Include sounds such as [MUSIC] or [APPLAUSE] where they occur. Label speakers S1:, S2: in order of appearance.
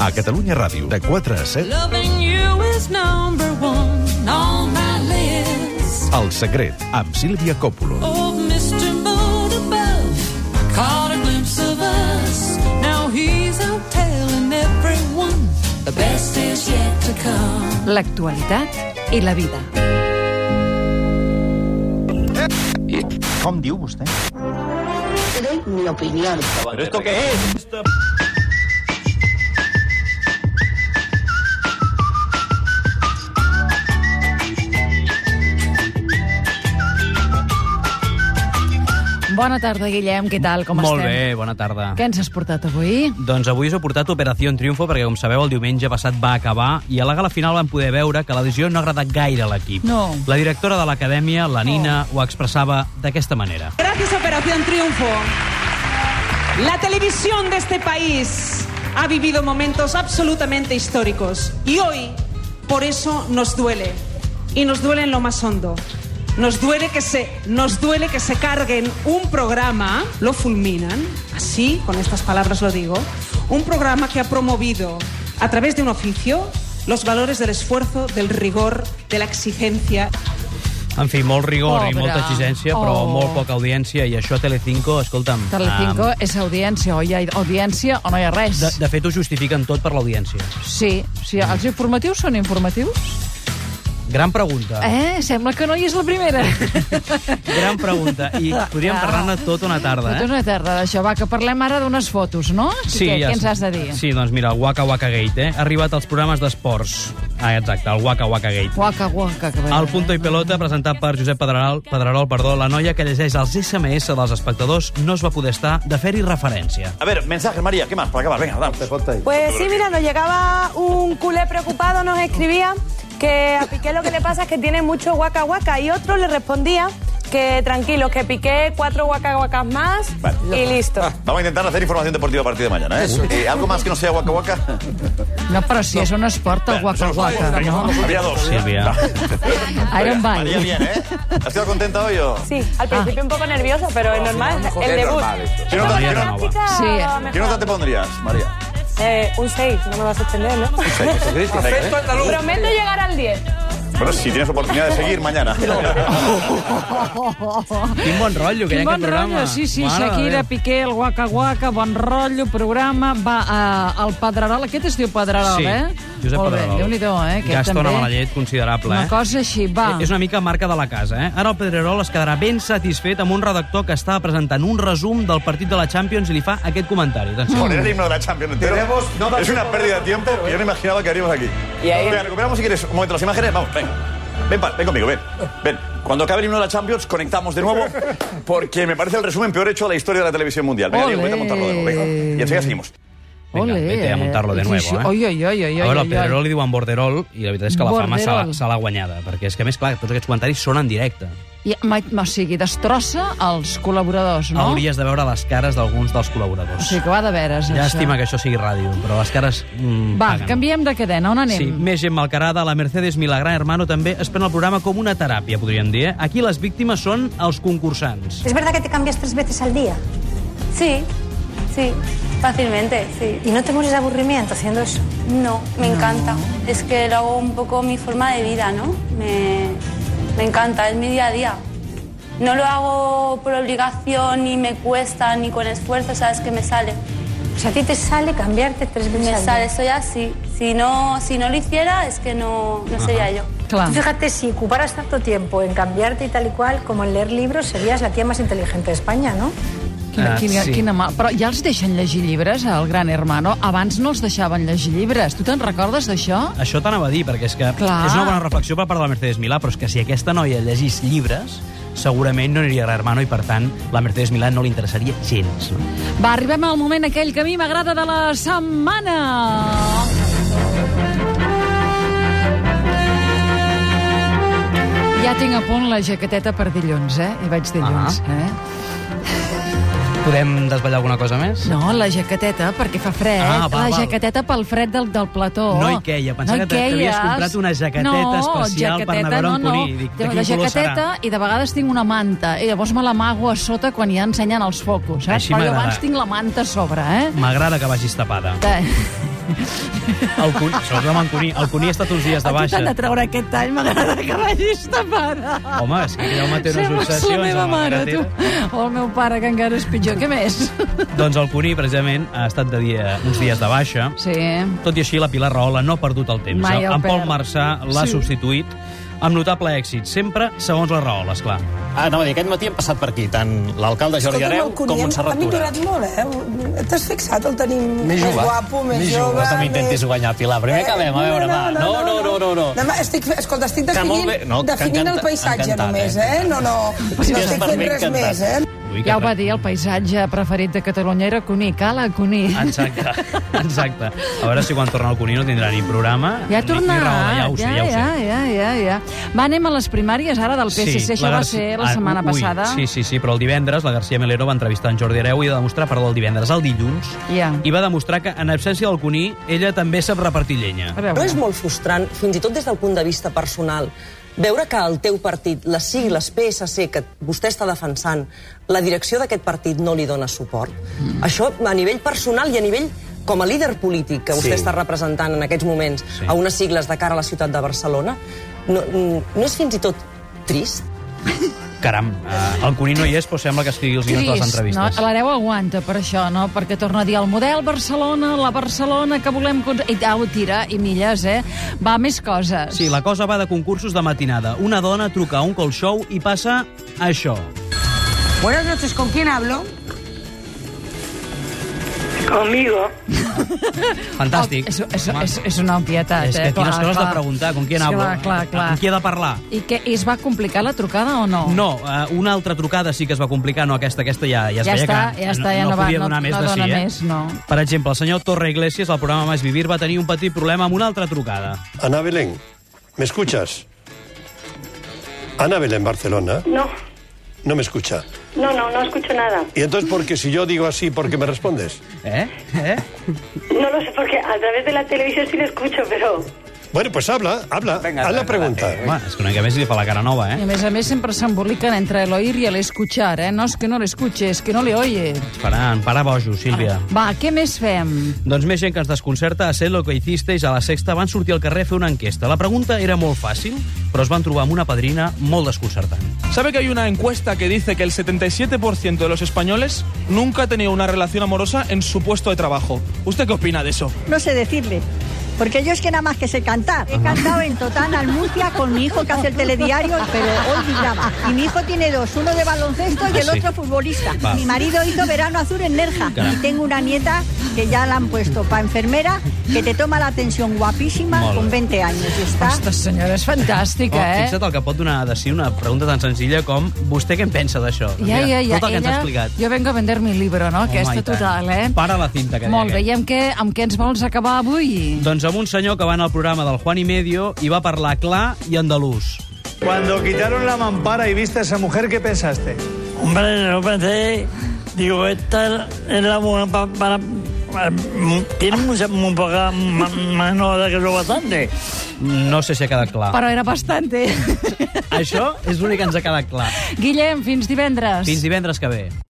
S1: a Catalunya Ràdio, de 4 a 7,
S2: Loving you is number one on my list.
S1: El secret, amb Sílvia Coppola.
S2: Old Mr. Moon above caught a glimpse of us. Now he's out telling everyone the best is yet to come.
S3: L'actualitat i la vida.
S4: Com diu vostè?
S5: doy mi opinión.
S3: Bona tarda, Guillem, què tal, com
S6: Molt
S3: estem?
S6: bé, bona tarda.
S3: Què ens has portat avui?
S6: Doncs avui us he portat Operació Triunfo perquè, com sabeu, el diumenge passat va acabar i a la gala final vam poder veure que la decisió no ha agradat gaire a l'equip.
S3: No.
S6: La directora de l'acadèmia, la Nina, ho expressava d'aquesta manera.
S7: Gracias a Operación Triunfo, la televisión de este país ha vivido momentos absolutamente históricos y hoy por eso nos duele y nos duele en lo más hondo. Nos duele que se nos duele que se carguen un programa, lo fulminan, así con estas palabras lo digo, un programa que ha promovido a través de un oficio los valores del esfuerzo, del rigor, de la exigencia
S6: En fi, molt rigor i
S3: Pobra.
S6: molta exigència, però
S3: Oh.
S6: molt poca audiència, i això a Telecinco, escolta'm...
S3: Telecinco
S6: ah,
S3: és audiència, o hi ha audiència o no hi ha res.
S6: de, de fet, ho justifiquen tot per l'audiència.
S3: Sí, sí, els informatius són informatius?
S6: Gran pregunta.
S3: Eh, sembla que no hi és la
S6: [LAUGHS]
S3: primera.
S6: Gran pregunta.
S3: [LAUGHS]
S6: I podríem
S3: Ah.
S6: parlar-ne tota una tarda,
S3: Tot
S6: eh?
S3: una tarda d'això. Va, que parlem ara d'unes fotos, no? què,
S6: ja
S3: què ens
S6: sé.
S3: has de dir?
S6: Sí, doncs mira, el Waka Waka Gate, eh? Ha arribat als programes d'esports. Ah, exacte, el Waka Waka Gate.
S3: Guaca, guaca. Que
S6: El Punto i Pelota, presentat per Josep Pedrerol, Pedrerol perdó, la noia que llegeix els SMS dels espectadors no es va poder estar de fer-hi referència.
S4: A ver, mensaje, María, ¿qué más? Para acabar, venga, damos.
S8: Pues sí, mira, nos llegaba un culé preocupado, nos escribía que a Piqué lo que le pasa es que tiene mucho guaca guaca y otro le respondía que tranquilo, que Piqué cuatro guaca guacas más y listo.
S4: Vamos a intentar hacer información deportiva a partir de mañana, ¿eh? Eh, algo más que no sea guaca guaca?
S3: No, però si és un esport, el guaca, guaca, no?
S4: Había dos.
S6: Sílvia.
S3: Ara en
S4: María,
S3: ball.
S4: bien, ¿eh? ¿Has quedado contenta hoy o...?
S8: Sí, al principio un poco nerviosa, pero es normal, el debut. Es
S4: Yo no
S8: como
S4: te-
S8: la
S4: yo no-
S8: práctica,
S3: Sí.
S8: a lo
S4: ¿Qué nota
S8: mejor.
S4: te pondrías, María?
S8: Eh, un 6, no me vas a extender, ¿no? ¿eh?
S4: Perfecto.
S8: Prometo llegar al 10.
S4: ¿eh? Bueno, si tienes oportunidad de seguir mañana.
S6: Quin bon rotllo que
S3: Quin
S6: hi ha en
S3: bon
S6: aquest programa.
S3: rotllo, sí, sí,
S6: Mare de
S3: Shakira,
S6: Déu.
S3: Piqué, el guaca, guaca, bon rotllo, programa, va eh, al Pedrerol, aquest es diu Pedrerol,
S6: Sí,
S3: eh?
S6: Josep
S3: Molt bé,
S6: Pedrerol.
S3: Déu-n'hi-do, eh? Aquest
S6: Gasta
S3: també.
S6: una mala llet considerable,
S3: Una
S6: eh?
S3: cosa així, va.
S6: Eh, És una mica marca de la casa, eh? Ara el Pedrerol es quedarà ben satisfet amb un redactor que estava presentant un resum del partit de la Champions i li fa aquest comentari. Doncs Atenció.
S4: Poner el himno de la Champions entero es una pérdida de tiempo. que Yo no imaginaba que haríamos aquí.
S8: Y ahí-
S4: Venga, recuperamos si quieres un momento las imágenes. Vamos, venga. Ven, pa- ven conmigo, ven. Ven. Cuando acabe el himno de la Champions, conectamos de nuevo, porque me parece el resumen peor hecho de la historia de la televisión mundial. Venga, Diego, vete a montarlo de nuevo. venga. Y enseguida seguimos.
S6: Vinga,
S3: Ole,
S6: vete a montarlo de
S3: sí,
S6: nuevo,
S3: sí.
S6: eh?
S3: Oi, oi, oi, oi,
S6: a veure,
S3: oi,
S6: el
S3: oi.
S6: Pedrerol li diuen Borderol i la veritat és que la fama se l'ha-
S3: Borderol.
S6: se l'ha guanyada, perquè és que, a més, clar, tots aquests comentaris són en directe.
S3: I, ma, ma, o sigui, destrossa els col·laboradors, no?
S6: Hauries de veure les cares d'alguns dels
S3: O
S6: col·laboradors.
S3: sigui, que va de veres,
S6: Llàstima
S3: això.
S6: que això sigui ràdio, però les cares mm,
S3: Va,
S6: paguen.
S3: canviem de cadena, on anem?
S6: Sí, més gent malcarada. La Mercedes Milagrán Hermano també es pren el programa com una teràpia, podríem dir. Eh? Aquí les víctimes són els concursants.
S9: ¿Es verdad que te cambias tres veces al día?
S8: Sí, sí, fácilmente, sí.
S9: ¿Y no te mueres de aburrimiento haciendo eso?
S8: No, me encanta. Es que lo hago un poco mi forma de vida, ¿no? Me, me encanta, es mi día a día. No lo hago por obligación, ni me cuesta, ni con esfuerzo, sabes que me sale.
S9: O sea, a ti te sale cambiarte tres veces
S8: Me
S9: al
S8: sale,
S9: día.
S8: soy así. Si no, si no lo hiciera, Ah, es que no, no sería yo.
S3: Clar.
S9: Tú Fíjate, si ocuparas tanto tiempo en cambiarte y tal y cual como en leer libros, serías la tía más inteligente de España, ¿no?
S3: Quina,
S6: Ah,
S3: quina,
S6: sí.
S3: quina mal... Però ja els deixen llegir llibres, al Gran Hermano? Abans no els deixaven llegir llibres. Tu te'n recordes d'això?
S6: Això t'anava a dir, perquè és que
S3: Clar.
S6: és una bona reflexió per part de la Mercedes Milà, però és que si aquesta noia llegís llibres, segurament no aniria a l'Hermano i, per tant, la Mercedes Milà no li interessaria gens. No?
S3: Va, arribem al moment aquell que a mi m'agrada de la setmana.
S6: Ah.
S3: Ja tinc a punt la jaqueteta per dilluns, eh? I vaig dilluns, eh?
S6: Podem desvetllar alguna cosa més?
S3: No, la jaqueteta, perquè fa fred.
S6: Ah, va,
S3: la
S6: val.
S3: jaqueteta pel fred del, del plató.
S6: No hi queia, pensava
S3: hi
S6: que t'havies
S3: queies.
S6: comprat una jaqueteta
S3: no,
S6: especial per anar a veure
S3: no,
S6: un
S3: no.
S6: conill. Dic, de
S3: Dic,
S6: quin
S3: la
S6: color serà?
S3: jaqueteta i de vegades tinc una manta i llavors me l'amago a sota quan ja ensenyen els focus. Saps?
S6: Així
S3: Però jo
S6: m'agrada.
S3: abans tinc la manta a sobre, eh?
S6: M'agrada que vagis tapada. El conill, sobretot amb en Cuní. El Cuní ha estat uns dies
S3: A
S6: de
S3: tu
S6: baixa.
S3: t'han de treure aquest tall, m'agrada que vagis tapada.
S6: Home, és que aquell home té unes
S3: Sembles
S6: obsessions.
S3: la meva
S6: amb
S3: mare, tu.
S6: carretera.
S3: O el meu pare, que encara és pitjor. Què més?
S6: Doncs el Cuní, precisament, ha estat de dia, uns dies de baixa.
S3: Sí.
S6: Tot i així, la Pilar Rahola no ha perdut el temps. eh?
S3: Mai el
S6: en Pol
S3: perd.
S6: Marçà l'ha
S3: Sí.
S6: substituït amb notable èxit, sempre segons la Rahola, esclar.
S10: Ah, no, aquest matí hem passat per aquí, tant l'alcalde Jordi Areu com Montserrat Tura.
S2: molt, eh? T'has fixat? El tenim més, guapo, més, jove...
S10: No t'intentis guanyar, Pilar. Primer
S2: Eh,
S10: acabem, a veure, va. No, no, no, no. no.
S2: Demà estic, fe- escolta, estic
S10: Que molt
S2: definint,
S10: bé, no, que
S2: definint el
S10: encanta-
S2: paisatge
S10: encantat,
S2: només,
S10: eh?
S2: eh? No, no, no
S10: Sí,
S2: estic
S10: per
S2: fent
S10: mi
S2: res
S10: encantat.
S2: més, eh?
S6: Ui, que
S3: Ja ho va
S6: fred.
S3: dir, el paisatge preferit de Catalunya era Cuní. Cala, Cuní.
S6: Exacte, exacte. A veure si quan torna el Cuní no tindrà ni programa
S3: Ja ha
S6: ni-
S3: tornat.
S6: ni Rahola, ja ho sé,
S3: ja,
S6: ja ho sé.
S3: ja, ja, ja, ja. Va, anem a les primàries ara del PSC. Això va
S6: Garci-
S3: ser la
S6: Ah,
S3: setmana
S6: ui,
S3: passada.
S6: Sí, sí, sí, però el divendres la García Melero va entrevistar en Jordi Areu i va demostrar, perdó, el divendres, el dilluns,
S3: Ja.
S6: i va demostrar que, en absència del Cuní, ella també sap repartir llenya.
S3: A veure.
S2: No és molt frustrant, fins i tot des del punt de vista personal, veure que el teu partit, les sigles PSC que vostè està defensant, la direcció d'aquest partit no li dona suport. Mm. Això a nivell personal i a nivell com a líder polític que vostè
S10: Sí.
S2: està representant en aquests moments
S6: Sí.
S2: a unes sigles de cara a la ciutat de Barcelona, no, no és fins i tot trist?
S6: Caram, eh, el Cuní no hi és, però sembla que escrigui els guions de les
S3: Trist, no?
S6: entrevistes.
S3: L'hereu aguanta per això, no? Perquè torna a dir el model Barcelona, la Barcelona que volem... cons- I au, tira, i milles, eh? Va, més coses.
S6: Sí, la cosa va de concursos de matinada. Una dona truca a un call show i passa això.
S2: Buenas noches, ¿con quién hablo?
S5: Conmigo.
S6: [LAUGHS] Fantàstic.
S3: Oh, és, és,
S6: Home,
S3: és, és una obvietat,
S6: és
S3: eh?
S6: que quines coses
S3: clar.
S6: de preguntar, com qui anava.
S3: Clar, clar, clar.
S6: Amb qui he de parlar?
S3: I què, i es va complicar la trucada o no?
S6: No, eh, una altra trucada sí que es va complicar, no aquesta, aquesta ja, ja, es
S3: Ja
S6: veia
S3: està,
S6: que
S3: ja està, ja no va,
S6: podia
S3: no-
S6: donar més
S3: no
S6: de
S3: dona
S6: sí, eh?
S3: més, no.
S6: Per exemple, el senyor Torre Iglesias, al programa Més Vivir, va tenir un petit problema amb una altra trucada.
S10: Ana Belén, ¿me escuchas? Ana Belén, Barcelona,
S5: No,
S10: no me escucha.
S5: no, no, no escucho nada.
S10: Y entonces, porque si yo digo así, ¿por qué me respondes?
S6: Eh? Eh?
S5: No lo sé porque a través de la televisión sí lo escucho, pero
S10: Bueno, pues habla, habla, haz la pregunta.
S6: Home, és que una mica més li fa la cara nova,
S3: I a
S6: eh?
S3: més a més sempre s'emboliquen entre el oír i el escuchar, eh? No, es que no l'escuches, que no le oye.
S6: Ens farà, en farà bojo, Sílvia.
S3: Va, què més fem?
S6: Doncs més gent que ens desconcerta a ser lo que hicisteis a la sexta van sortir al carrer a fer una enquesta. La pregunta era molt fàcil, però es van trobar amb una padrina molt desconcertant.
S2: ¿Sabe que hay una encuesta que dice que el 77% de los españoles nunca ha tenido una relación amorosa en su puesto de trabajo? ¿Usted qué opina de eso?
S9: No sé decirle. Porque yo es que nada más que sé cantar. He cantado en Totana, en Murcia, con mi hijo que hace el telediario, pero hoy brillaba. Y mi hijo tiene dos, uno de baloncesto y el
S6: Ah, sí.
S9: otro futbolista.
S6: Va.
S9: Mi marido hizo verano azul en Nerja.
S6: Caram.
S9: Y tengo una nieta que ya la han puesto para enfermera, que te toma la atención guapísima
S6: Molt bé.
S9: con 20 años. Y está...
S3: Aquesta senyora és
S6: Oh,
S3: fantàstica, eh?
S6: fixa't el que pot donar de si una pregunta tan senzilla com vostè què en pensa d'això? Doncs
S3: Ja,
S6: Mira,
S3: ja, ja.
S6: Tot el que ens
S3: Ella,
S6: ha explicat.
S3: Jo vengo a vender mi libro, no? Aquesta
S6: Home, i tant.
S3: total, eh?
S6: Para la cinta que deia
S3: Molt bé,
S6: aquest.
S3: i amb què, amb què ens vols acabar avui?
S6: Doncs amb un senyor que va anar al programa del Juan y Medio i va parlar clar i andalús.
S2: Cuando quitaron la mampara y viste a esa mujer, ¿qué pensaste?
S10: Hombre, no pensé. Digo, esta es la mujer para. mm, tiene mucha, muy poca mano de que lo bastante.
S6: No sé si ha quedat clar.
S3: Però era eh? bastante.
S6: [LAUGHS] Això és l'únic que ens ha quedat clar.
S3: Guillem, fins divendres.
S6: Fins divendres que ve.